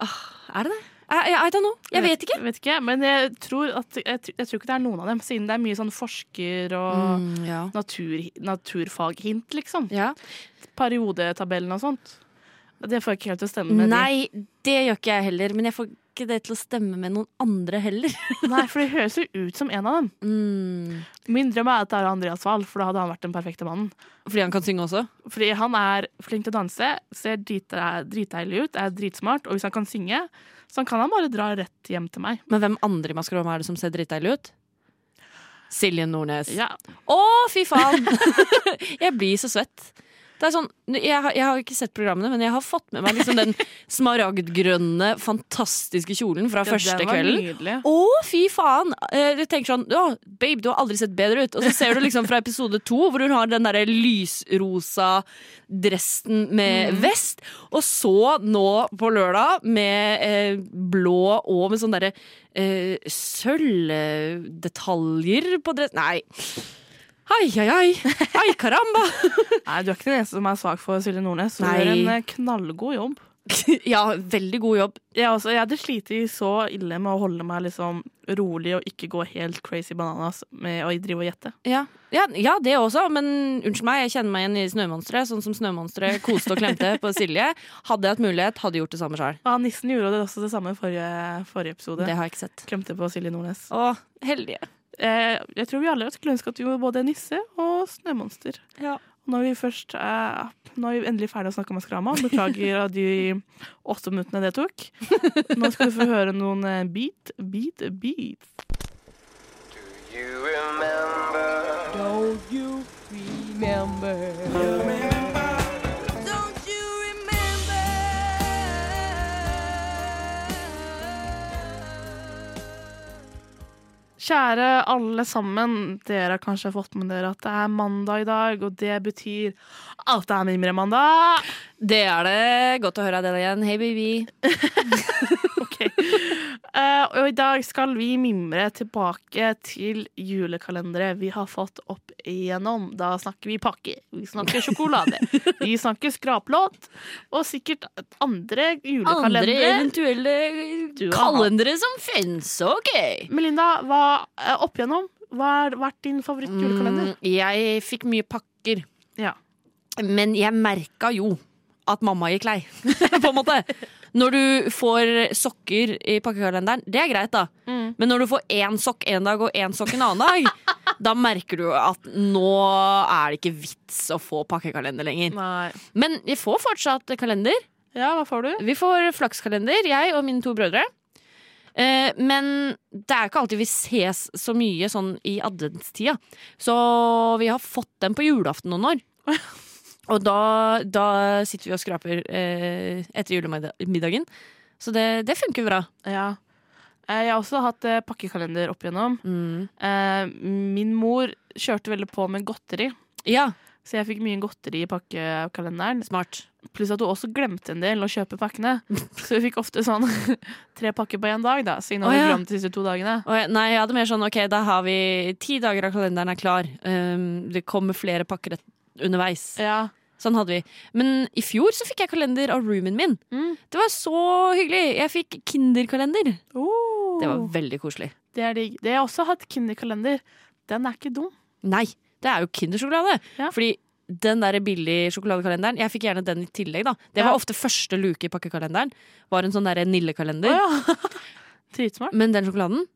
[SPEAKER 5] Er det det? I, I don't know. Jeg vet ikke.
[SPEAKER 3] Vet ikke, Men jeg tror, at, jeg, tr- jeg tror ikke det er noen av dem, siden det er mye sånn forsker og
[SPEAKER 5] Mm, ja.
[SPEAKER 3] natur, naturfaghint, liksom.
[SPEAKER 5] Ja.
[SPEAKER 3] Periodetabellen og sånt. Det får jeg ikke helt til å stemme med
[SPEAKER 5] Nei, det gjør ikke jeg heller. Men jeg får ikke det til å stemme med noen andre heller.
[SPEAKER 3] de.
[SPEAKER 5] Mm.
[SPEAKER 3] Nei, for det høres jo ut som en av dem. Min drøm er at det er Andreas Wahl, for da hadde han vært den perfekte mannen.
[SPEAKER 5] Fordi han kan synge også?
[SPEAKER 3] Fordi han er flink til å danse, ser drita- dritdeilig ut, er dritsmart, og hvis han kan synge, så kan han bare dra rett hjem til meg.
[SPEAKER 5] Men hvem andre i Maskorama er det som ser dritdeilig ut? Silje Nordnes.
[SPEAKER 3] Ja,
[SPEAKER 5] Å, fy faen! jeg blir så svett. Det er sånn, jeg, har- jeg har ikke sett programmene, men jeg har fått med meg liksom den smaragdgrønne, fantastiske kjolen fra første
[SPEAKER 3] den var
[SPEAKER 5] kvelden.
[SPEAKER 3] Nydelig.
[SPEAKER 5] Å, fy faen! Eh, Jeg tenker sånn Å, babe, du har aldri sett bedre ut. Og så ser du liksom fra episode to, hvor hun har den derre lysrosa dressen med vest. Og så nå på lørdag med eh, blå og med sånne derre eh, sølvdetaljer på dress... Nei. Ai, ai, ai. Ai, caramba!
[SPEAKER 3] Nei, du er ikke den eneste som er svak for Silje Nordnes. Hun
[SPEAKER 5] Oh! Nei.
[SPEAKER 3] gjør en eh, knallgod jobb.
[SPEAKER 5] ja, veldig god jobb.
[SPEAKER 3] Jeg, også, altså, jeg hadde slitt så ille med å holde meg liksom rolig og ikke gå helt crazy bananas med å drive og gjette.
[SPEAKER 5] Ja. Ja, ja, det også, men unnskyld meg, jeg kjenner meg igjen i Snømonsteret. Sånn som Snømonsteret koste og klemte på Silje. Hadde jeg hatt mulighet, hadde jeg gjort det samme sjøl.
[SPEAKER 3] Ja, Nissen gjorde det også det samme i forrige, forrige episode.
[SPEAKER 5] Det har jeg ikke sett.
[SPEAKER 3] Klemte på Silje Nordnes.
[SPEAKER 5] Å, heldige.
[SPEAKER 3] Eh, jeg tror vi alle skulle ønske at du var både nisse og snømonster.
[SPEAKER 5] Ja.
[SPEAKER 3] Og når vi først eh, Nå er vi endelig ferdig å snakke om Maskorama. Beklager av de åtte minuttene det tok. Nå skal du få høre noen eh, beat, beat, beat. Kjære alle sammen, dere har kanskje fått med dere at det er mandag i dag, og det betyr at det er Mimre-mandag!
[SPEAKER 5] Det er det. Godt å høre deg igjen. Hei, baby.
[SPEAKER 3] Eh, og i dag skal vi mimre tilbake til julekalendere vi har fått opp igjennom. Da snakker vi pakke, vi snakker sjokolade, vi snakker skraplåt, og sikkert andre
[SPEAKER 5] Andre
[SPEAKER 3] julekalendere.
[SPEAKER 5] eventuelle
[SPEAKER 3] Du har
[SPEAKER 5] kalendere som fins. OK.
[SPEAKER 3] Melinda, hva eh, opp igjennom? Hva har vært din favorittjulekalender?
[SPEAKER 5] Mm, jeg fikk mye pakker.
[SPEAKER 3] Ja.
[SPEAKER 5] Men jeg merka jo at mamma gikk lei, på en måte. Når du får sokker i pakkekalenderen, det er greit, da.
[SPEAKER 3] Mm.
[SPEAKER 5] Men når du får én sokk en dag og én sokk en annen dag, da merker du at nå er det ikke vits å få pakkekalender lenger.
[SPEAKER 3] Mm, Nei.
[SPEAKER 5] Men vi får fortsatt kalender.
[SPEAKER 3] Ja, hva får du?
[SPEAKER 5] Vi får flakskalender, jeg og mine to brødre. Eh, men det er ikke alltid vi ses så mye sånn i adventstida. Så vi har fått den på julaften noen år. Og da, da sitter vi og skraper eh, etter julemiddagen. Så det, det funker bra.
[SPEAKER 3] Ja. Eh, Jeg har også hatt eh, pakkekalender opp igjennom.
[SPEAKER 5] Mm.
[SPEAKER 3] Eh, Min mor kjørte veldig på med godteri,
[SPEAKER 5] Ja,
[SPEAKER 3] så jeg fikk mye godteri i pakkekalenderen.
[SPEAKER 5] smart.
[SPEAKER 3] Pluss at hun også glemte en del å kjøpe pakkene. Så vi fikk ofte sånn tre pakker på én dag, da, siden hun
[SPEAKER 5] Å,
[SPEAKER 3] hadde
[SPEAKER 5] ja.
[SPEAKER 3] glemt de siste to dagene.
[SPEAKER 5] Og jeg, nei, jeg hadde mer sånn ok, da har vi ti dager av kalenderen er klar. Um, det kommer flere pakker et- underveis.
[SPEAKER 3] Ja.
[SPEAKER 5] Sånn hadde vi. Men i fjor så fikk jeg kalender av roomien min.
[SPEAKER 3] Mm.
[SPEAKER 5] Det var så hyggelig! Jeg fikk Kinderkalender. Det var
[SPEAKER 3] Oh.
[SPEAKER 5] veldig koselig.
[SPEAKER 3] Det er digg. Det har jeg også hatt Kinderkalender. Den er ikke dum.
[SPEAKER 5] Nei, det er jo Kindersjokolade.
[SPEAKER 3] Ja.
[SPEAKER 5] Fordi den der billige sjokoladekalenderen, jeg fikk gjerne den i tillegg, da. Det var
[SPEAKER 3] Ja.
[SPEAKER 5] ofte første luke i pakkekalenderen. Var en sånn derre
[SPEAKER 3] Å,
[SPEAKER 5] Nille-kalender.
[SPEAKER 3] ja. Dritsmart.
[SPEAKER 5] Men den sjokoladen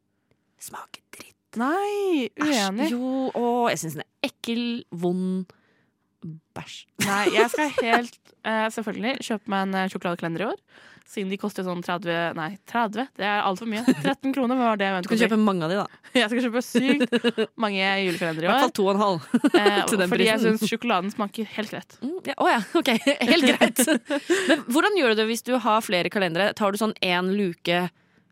[SPEAKER 5] smaker dritt.
[SPEAKER 3] Nei, uenig.
[SPEAKER 5] Æsj. Jo, å, jeg syns den er ekkel, vond, bæsj.
[SPEAKER 3] Nei, jeg skal helt eh, selvfølgelig kjøpe meg en eh, sjokoladekalender i år. Siden de koster sånn 30 Nei, 30? Det er altfor mye. 13 kroner hva var det jeg
[SPEAKER 5] Du kan
[SPEAKER 3] mente.
[SPEAKER 5] kjøpe mange av de, da.
[SPEAKER 3] Jeg skal kjøpe sykt mange julekalendere
[SPEAKER 5] I
[SPEAKER 3] i år.
[SPEAKER 5] hvert fall to og en halv.
[SPEAKER 3] Eh,
[SPEAKER 5] til den
[SPEAKER 3] fordi jeg
[SPEAKER 5] prisen.
[SPEAKER 3] syns sjokoladen smaker helt greit.
[SPEAKER 5] Mm, ja, å ja, ok. Helt greit. Men hvordan gjør du det hvis du har flere kalendere? Tar du sånn én luke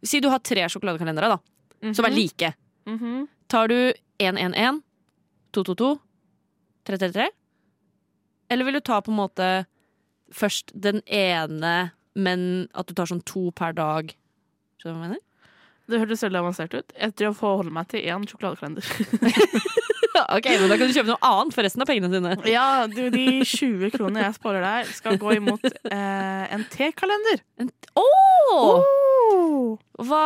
[SPEAKER 5] Si du har tre sjokoladekalendere, da, som er like.
[SPEAKER 3] Mhm.
[SPEAKER 5] Tar du 111, 222, 333? Eller vil du ta på en måte først den ene, men at du tar sånn to per dag? Skjønner du hva jeg mener?
[SPEAKER 3] Det hørtes veldig avansert ut. Jeg tror jeg får holde meg til én sjokoladekalender.
[SPEAKER 5] ok, men Da kan du kjøpe noe annet for resten av pengene dine.
[SPEAKER 3] Ja, du, de 20 kronene jeg sparer der, skal gå imot eh, en T-kalender.
[SPEAKER 5] Åh!
[SPEAKER 3] Oh.
[SPEAKER 5] Hva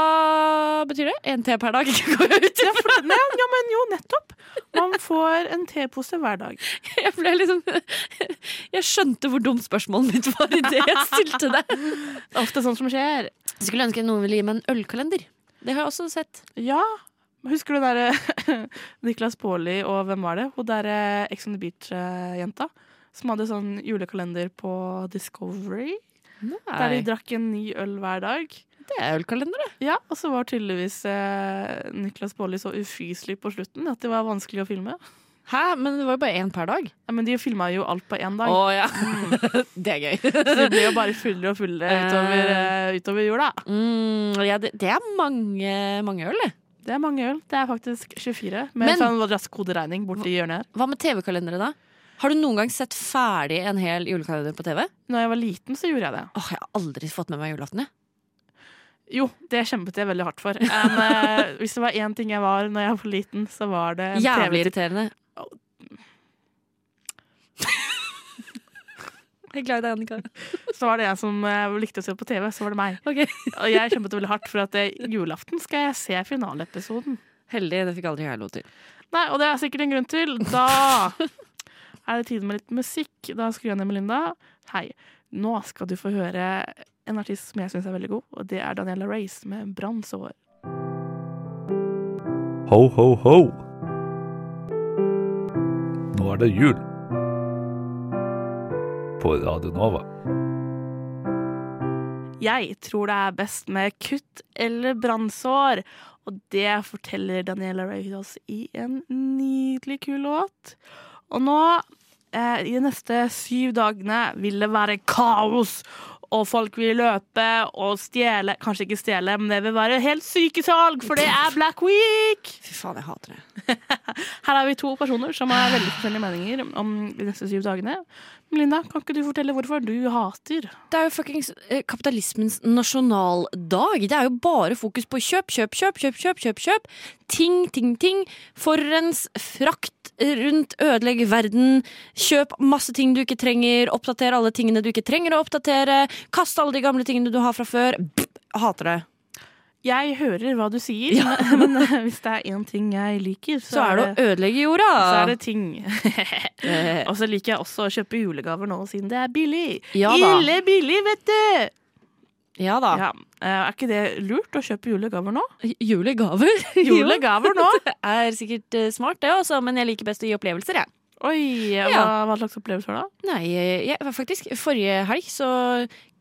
[SPEAKER 5] betyr det? Én te per dag? Går jeg ut
[SPEAKER 3] Ja, for, det- nei, ja, men jo, nettopp. Man får en T-pose hver dag.
[SPEAKER 5] Jeg ble liksom Jeg skjønte hvor dumt spørsmålet mitt var i det jeg stilte deg.
[SPEAKER 3] Det er ofte sånt som skjer.
[SPEAKER 5] Skulle ønske noen ville gi meg en ølkalender. Det har jeg også sett.
[SPEAKER 3] Ja. Husker du derre Niklas Baarli og hvem var det? Hun derre Ex on the Beach-jenta. Som hadde sånn julekalender på Discovery. Der de
[SPEAKER 5] Nei,
[SPEAKER 3] drakk en ny øl hver dag.
[SPEAKER 5] det er ølkalender, det.
[SPEAKER 3] Ja, Og så var tydeligvis eh, Niklas Baarli så ufyselig på slutten at det var vanskelig å filme.
[SPEAKER 5] Hæ, men det var jo bare én per dag. Mm.
[SPEAKER 3] Ja, men de filma jo alt på én
[SPEAKER 5] Å
[SPEAKER 3] dag.
[SPEAKER 5] ja. Det er gøy.
[SPEAKER 3] Så det ble jo bare fullere og fullere utover, eh, utover jula.
[SPEAKER 5] Mm, ja, det, det er mange, mange øl, det.
[SPEAKER 3] Det er mange øl. Det er faktisk 24. Med
[SPEAKER 5] Men-
[SPEAKER 3] en sånn rask koderegning borti hjørnet her.
[SPEAKER 5] Hva med TV-kalendere, da? Har du noen gang sett ferdig en hel julekalender på TV?
[SPEAKER 3] Når jeg var liten, så gjorde jeg det.
[SPEAKER 5] Åh, Jeg har aldri fått med meg julaften. jeg.
[SPEAKER 3] Jo, det kjempet jeg veldig hardt for. Men eh, hvis det var én ting jeg var når jeg var for liten, så var det en
[SPEAKER 5] Jævlig
[SPEAKER 3] TV-titt.
[SPEAKER 5] irriterende. Jeg er glad i deg, Annika.
[SPEAKER 3] Så var det en som eh, likte å se på TV, så var det meg.
[SPEAKER 5] Ok.
[SPEAKER 3] Og jeg kjempet veldig hardt for at eh, julaften skal jeg se finaleepisoden.
[SPEAKER 5] Heldig, det fikk aldri jeg lov til.
[SPEAKER 3] Nei, og det er sikkert en grunn til. Da er det tid med litt musikk. Da skrur jeg ned Melinda. Hei, nå skal du få høre en artist som jeg syns er veldig god, og det er Daniela Race med 'Brannsår'.
[SPEAKER 9] Ho, ho, ho! Nå er det jul. På Radio Nova.
[SPEAKER 3] Jeg tror det er best med kutt eller brannsår, og det forteller Daniela Race oss i en nydelig kul låt. Og nå, eh, i de neste syv dagene, vil det være kaos. Og folk vil løpe og stjele. Kanskje ikke stjele, men det vil være helt syke salg, for det er Black Week!
[SPEAKER 5] Fy faen, jeg hater det.
[SPEAKER 3] Her er vi to personer som har veldig forskjellige meninger om de neste syv dagene. Melinda, kan ikke du fortelle hvorfor du hater?
[SPEAKER 5] Det er jo fuckings eh, kapitalismens nasjonaldag. Det er jo bare fokus på kjøp, kjøp, kjøp, kjøp, kjøp, kjøp. kjøp. Ting, ting, ting. Forurens, frakt rundt, ødelegg verden. Kjøp masse ting du ikke trenger. Oppdater alle tingene du ikke trenger å oppdatere. Kast alle de gamle tingene du har fra før. Pff, hater det.
[SPEAKER 3] Jeg hører hva du sier, men eh, hvis det er én ting jeg liker, så,
[SPEAKER 5] Så er det å ødelegge jorda.
[SPEAKER 3] så er det ting.
[SPEAKER 5] Eh,
[SPEAKER 3] Og så liker jeg også å kjøpe julegaver nå, siden det er billig.
[SPEAKER 5] Ja da.
[SPEAKER 3] Ille billig, vet du!
[SPEAKER 5] Ja da.
[SPEAKER 3] Ja. Eh, Er ikke det lurt å kjøpe julegaver nå?
[SPEAKER 5] Julegaver.
[SPEAKER 3] Julegaver nå?
[SPEAKER 5] Det er sikkert eh, smart, det også, men jeg liker best å gi opplevelser, jeg.
[SPEAKER 3] Oi, hva,
[SPEAKER 5] Ja.
[SPEAKER 3] hva slags opplevelse var det?
[SPEAKER 5] Nei, eh, jeg, faktisk. Forrige helg så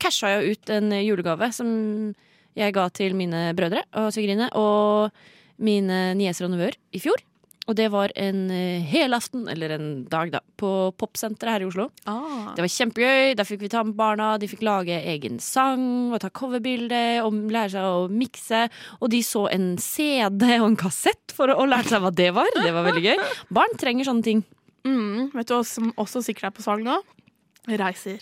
[SPEAKER 5] casha jeg ut en julegave som jeg ga til mine brødre og svigerinne og mine nieser og nevøer i fjor. Og det var en eh, helaften, eller en dag, da, på Popsenteret her i Oslo.
[SPEAKER 3] Ah.
[SPEAKER 5] Det var kjempegøy. Der fikk vi ta med barna. De fikk lage egen sang og ta coverbilde og lære seg å mikse. Og de så en CD og en kassett for å, og lærte seg hva det var. Det var veldig gøy. Barn trenger sånne ting.
[SPEAKER 3] Mm, vet du hva som også sikkert er på salg nå? Reiser.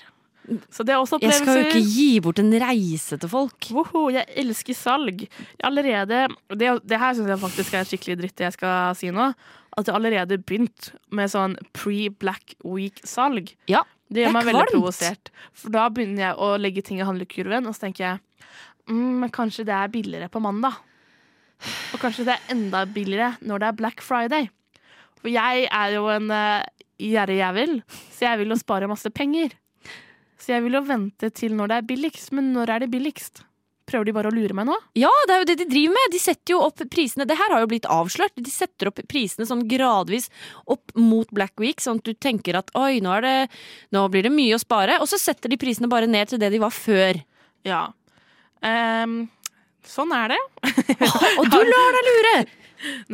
[SPEAKER 3] Så det er også
[SPEAKER 5] Jeg skal jo ikke
[SPEAKER 3] opplevelser.
[SPEAKER 5] gi bort en reise til folk.
[SPEAKER 3] Woho, jeg elsker salg. Jeg allerede, det, det her syns jeg faktisk er skikkelig dritt, det jeg skal si nå. At jeg allerede begynt med sånn pre-Black Week-salg.
[SPEAKER 5] Ja,
[SPEAKER 3] Det gjør
[SPEAKER 5] er
[SPEAKER 3] meg veldig
[SPEAKER 5] kvalmt.
[SPEAKER 3] provosert. For da begynner jeg å legge ting i handlekurven, og så tenker jeg mm, men kanskje det er billigere på mandag. Og kanskje det er enda billigere når det er Black Friday. For jeg er jo en uh, gjerrig jævel, så jeg vil jo spare masse penger. Så jeg vil jo vente til når det er billigst. Men når er det billigst? Prøver de bare å lure meg nå?
[SPEAKER 5] Ja, det er jo det de driver med. De setter jo opp prisene. Det her har jo blitt avslørt. De setter opp prisene sånn gradvis opp mot Black Week, sånn at du tenker at oi, nå, er det, nå blir det mye å spare. Og så setter de prisene bare ned til det de var før.
[SPEAKER 3] Ja. Ehm, sånn er det.
[SPEAKER 5] Og du lar deg lure!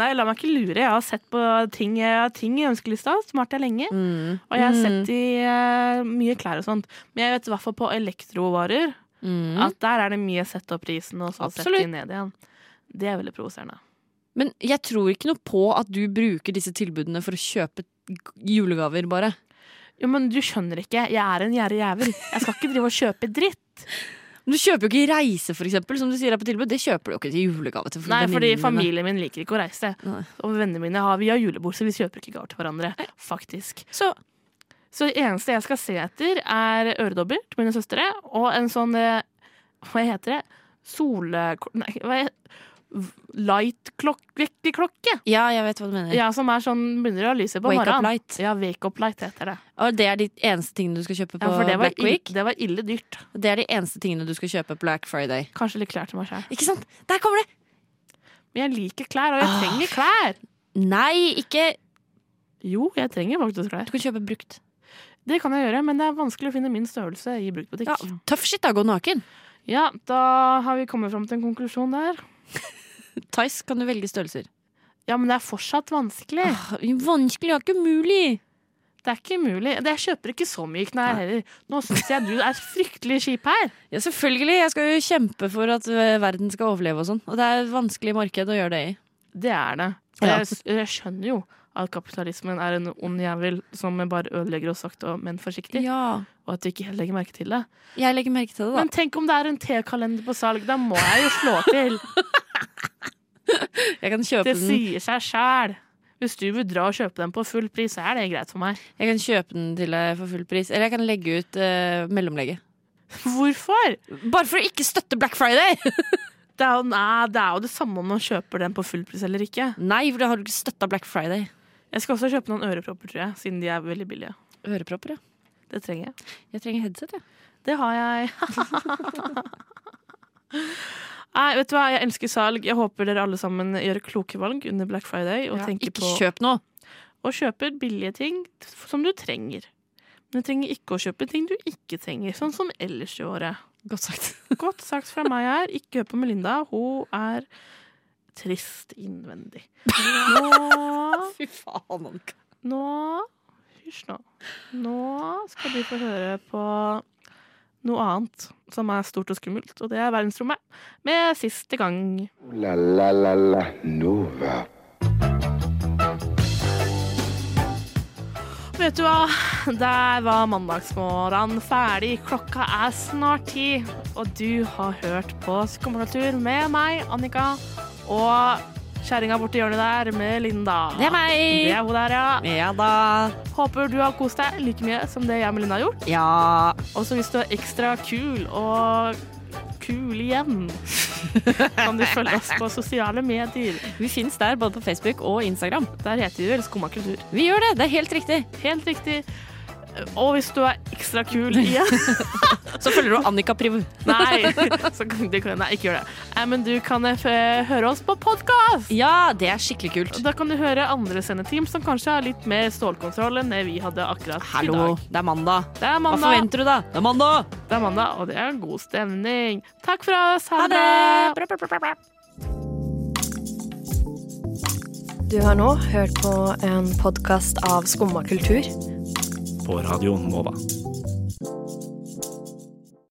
[SPEAKER 3] Nei, la meg ikke lure. Jeg har sett på ting, jeg har ting i ønskelista, som har vært der lenge.
[SPEAKER 5] Mm.
[SPEAKER 3] Og jeg har sett i eh, mye klær og sånt. Men jeg vet i hvert fall på elektrovarer
[SPEAKER 5] Mm.
[SPEAKER 3] at der er det mye sett opp prisen, og så setter
[SPEAKER 5] Absolutt.
[SPEAKER 3] de ned igjen. Det er veldig provoserende.
[SPEAKER 5] Men jeg tror ikke noe på at du bruker disse tilbudene for å kjøpe g- julegaver, bare.
[SPEAKER 3] Jo, men du skjønner ikke. Jeg er en gjerrig jævel. Jeg skal ikke drive og kjøpe dritt.
[SPEAKER 5] Men du kjøper jo ikke reise, for eksempel, som du sier er på tilbud. Det kjøper du jo ikke til julegave til
[SPEAKER 3] Nei, fordi
[SPEAKER 5] venninnene dine.
[SPEAKER 3] familien min liker ikke å reise.
[SPEAKER 5] Nei.
[SPEAKER 3] Og vennene mine har, vi har julebord, så vi kjøper ikke gaver til hverandre. Faktisk.
[SPEAKER 5] Så
[SPEAKER 3] Så det eneste jeg skal se etter, er øredobber til mine søstre og en sånn eh, Hva heter det? Sole... Nei, hva er Light-vekkerklokke.
[SPEAKER 5] ja, jeg vet hva du mener.
[SPEAKER 3] Ja, som er sånn begynner å lyse på
[SPEAKER 5] Wake up
[SPEAKER 3] morgenen.
[SPEAKER 5] light.
[SPEAKER 3] Ja, wake up light heter det.
[SPEAKER 5] Og det er de eneste tingene du skal kjøpe på
[SPEAKER 3] Ja, for det var,
[SPEAKER 5] Black
[SPEAKER 3] ille,
[SPEAKER 5] Week.
[SPEAKER 3] det var ille dyrt.
[SPEAKER 5] Det er de eneste tingene du skal kjøpe på Black Friday.
[SPEAKER 3] Kanskje litt klær til meg selv
[SPEAKER 5] Ikke sant? Der kommer det!
[SPEAKER 3] Men jeg liker klær, og jeg
[SPEAKER 5] Ah.
[SPEAKER 3] trenger klær!
[SPEAKER 5] Nei, ikke
[SPEAKER 3] Jo, jeg trenger faktisk klær.
[SPEAKER 5] Du kan kjøpe brukt.
[SPEAKER 3] Det kan jeg gjøre, men det er vanskelig å finne min størrelse i bruktbutikk.
[SPEAKER 5] Ja, Tøff shit, da. Gå naken.
[SPEAKER 3] Ja, da har vi kommet fram til en konklusjon der.
[SPEAKER 5] Tice kan du velge størrelser.
[SPEAKER 3] Ja, men det er fortsatt vanskelig.
[SPEAKER 5] Ah, vanskelig, ja. Ikke umulig.
[SPEAKER 3] Det er ikke umulig. Det- Jeg kjøper ikke så mye knær heller. Nå syns jeg du er fryktelig kjip her.
[SPEAKER 5] Ja, selvfølgelig. Jeg skal jo kjempe for at ø, verden skal overleve og sånn. Og det er et vanskelig marked å gjøre det i.
[SPEAKER 3] Det er det.
[SPEAKER 5] Ja.
[SPEAKER 3] Jeg, s- jeg skjønner jo at kapitalismen er en ond jævel som bare ødelegger oss sakte, og- men forsiktig.
[SPEAKER 5] Ja.
[SPEAKER 3] Og at vi ikke helt legger merke til det.
[SPEAKER 5] Jeg legger merke til det,
[SPEAKER 3] Men tenk om det er en tekalender på salg. Da må jeg jo slå til.
[SPEAKER 5] da. Jeg kan kjøpe,
[SPEAKER 3] Det
[SPEAKER 5] den,
[SPEAKER 3] sier seg sjæl. Hvis du vil dra og kjøpe den på full pris, så er det greit for meg.
[SPEAKER 5] jeg kan kjøpe den til deg for full pris. Eller jeg kan legge ut ø, mellomlegget.
[SPEAKER 3] Hvorfor?
[SPEAKER 5] Bare for å ikke støtte Black Friday!
[SPEAKER 3] Det er, jo, nei, det er jo det samme om man kjøper den på full pris eller ikke.
[SPEAKER 5] Nei, for da har du ikke støtta Black Friday.
[SPEAKER 3] Jeg skal også kjøpe noen ørepropper, tror jeg, siden de er veldig billige.
[SPEAKER 5] Ørepropper, ja.
[SPEAKER 3] Det trenger jeg.
[SPEAKER 5] Jeg trenger headset, jeg.
[SPEAKER 3] Det har jeg. Nei, vet du hva? Jeg elsker salg. Jeg håper dere alle sammen gjør kloke valg under Black Friday. Og, tenker
[SPEAKER 5] Ikke
[SPEAKER 3] på,
[SPEAKER 5] kjøp noe.
[SPEAKER 3] og kjøper billige ting som du trenger. Men du trenger ikke å kjøpe ting du ikke trenger, sånn som ellers i året.
[SPEAKER 5] Godt sagt.
[SPEAKER 3] Godt sagt fra meg her. Ikke hør på Melinda. Hun er trist innvendig. Nå
[SPEAKER 5] Fy faen, Annika.
[SPEAKER 3] Nå Hysj nå. Nå skal du få høre på noe annet som er stort og skummelt, og det er verdensrommet. Med siste gang.
[SPEAKER 2] Ooh la la la la Nova.
[SPEAKER 3] Vet du hva? Der var mandagsmorgen ferdig. Klokka er snart ti, og du har hørt på Skumratur med meg, Annika, og kjerringa borti hjørnet der med Linda.
[SPEAKER 5] Det er meg.
[SPEAKER 3] Det er hun der, ja.
[SPEAKER 5] Ja da.
[SPEAKER 3] Håper du har kost deg like mye som det jeg og Melinda har gjort.
[SPEAKER 5] Ja.
[SPEAKER 3] Og så hvis du er ekstra kul og kul igjen, kan du følge oss på sosiale medier.
[SPEAKER 5] Vi fins der, både på Facebook og Instagram.
[SPEAKER 3] Der heter vi vel Skumma kultur.
[SPEAKER 5] Vi gjør det. Det er helt riktig.
[SPEAKER 3] Helt riktig. Og hvis du er ekstra kul igjen
[SPEAKER 5] Så følger du Annika Priv.
[SPEAKER 3] Nei, så kan, du kan, nei, ikke gjør det. Nei, men du kan eh, f- høre oss på podkast!
[SPEAKER 5] Ja, det er skikkelig kult.
[SPEAKER 3] Da kan du høre andre sendeteam som kanskje har litt mer stålkontroll enn det vi hadde akkurat i
[SPEAKER 5] Hallo,
[SPEAKER 3] dag.
[SPEAKER 5] det er mandag.
[SPEAKER 3] Det er
[SPEAKER 5] Hva
[SPEAKER 3] mandag,
[SPEAKER 5] forventer du, da? Det er mandag!
[SPEAKER 3] det er mandag, og det er en god stemning. Takk for oss.
[SPEAKER 5] Ha
[SPEAKER 3] Ha
[SPEAKER 5] det!
[SPEAKER 3] det!
[SPEAKER 10] Du har nå hørt på en podkast av Skumma kultur.
[SPEAKER 4] På Radio Nova.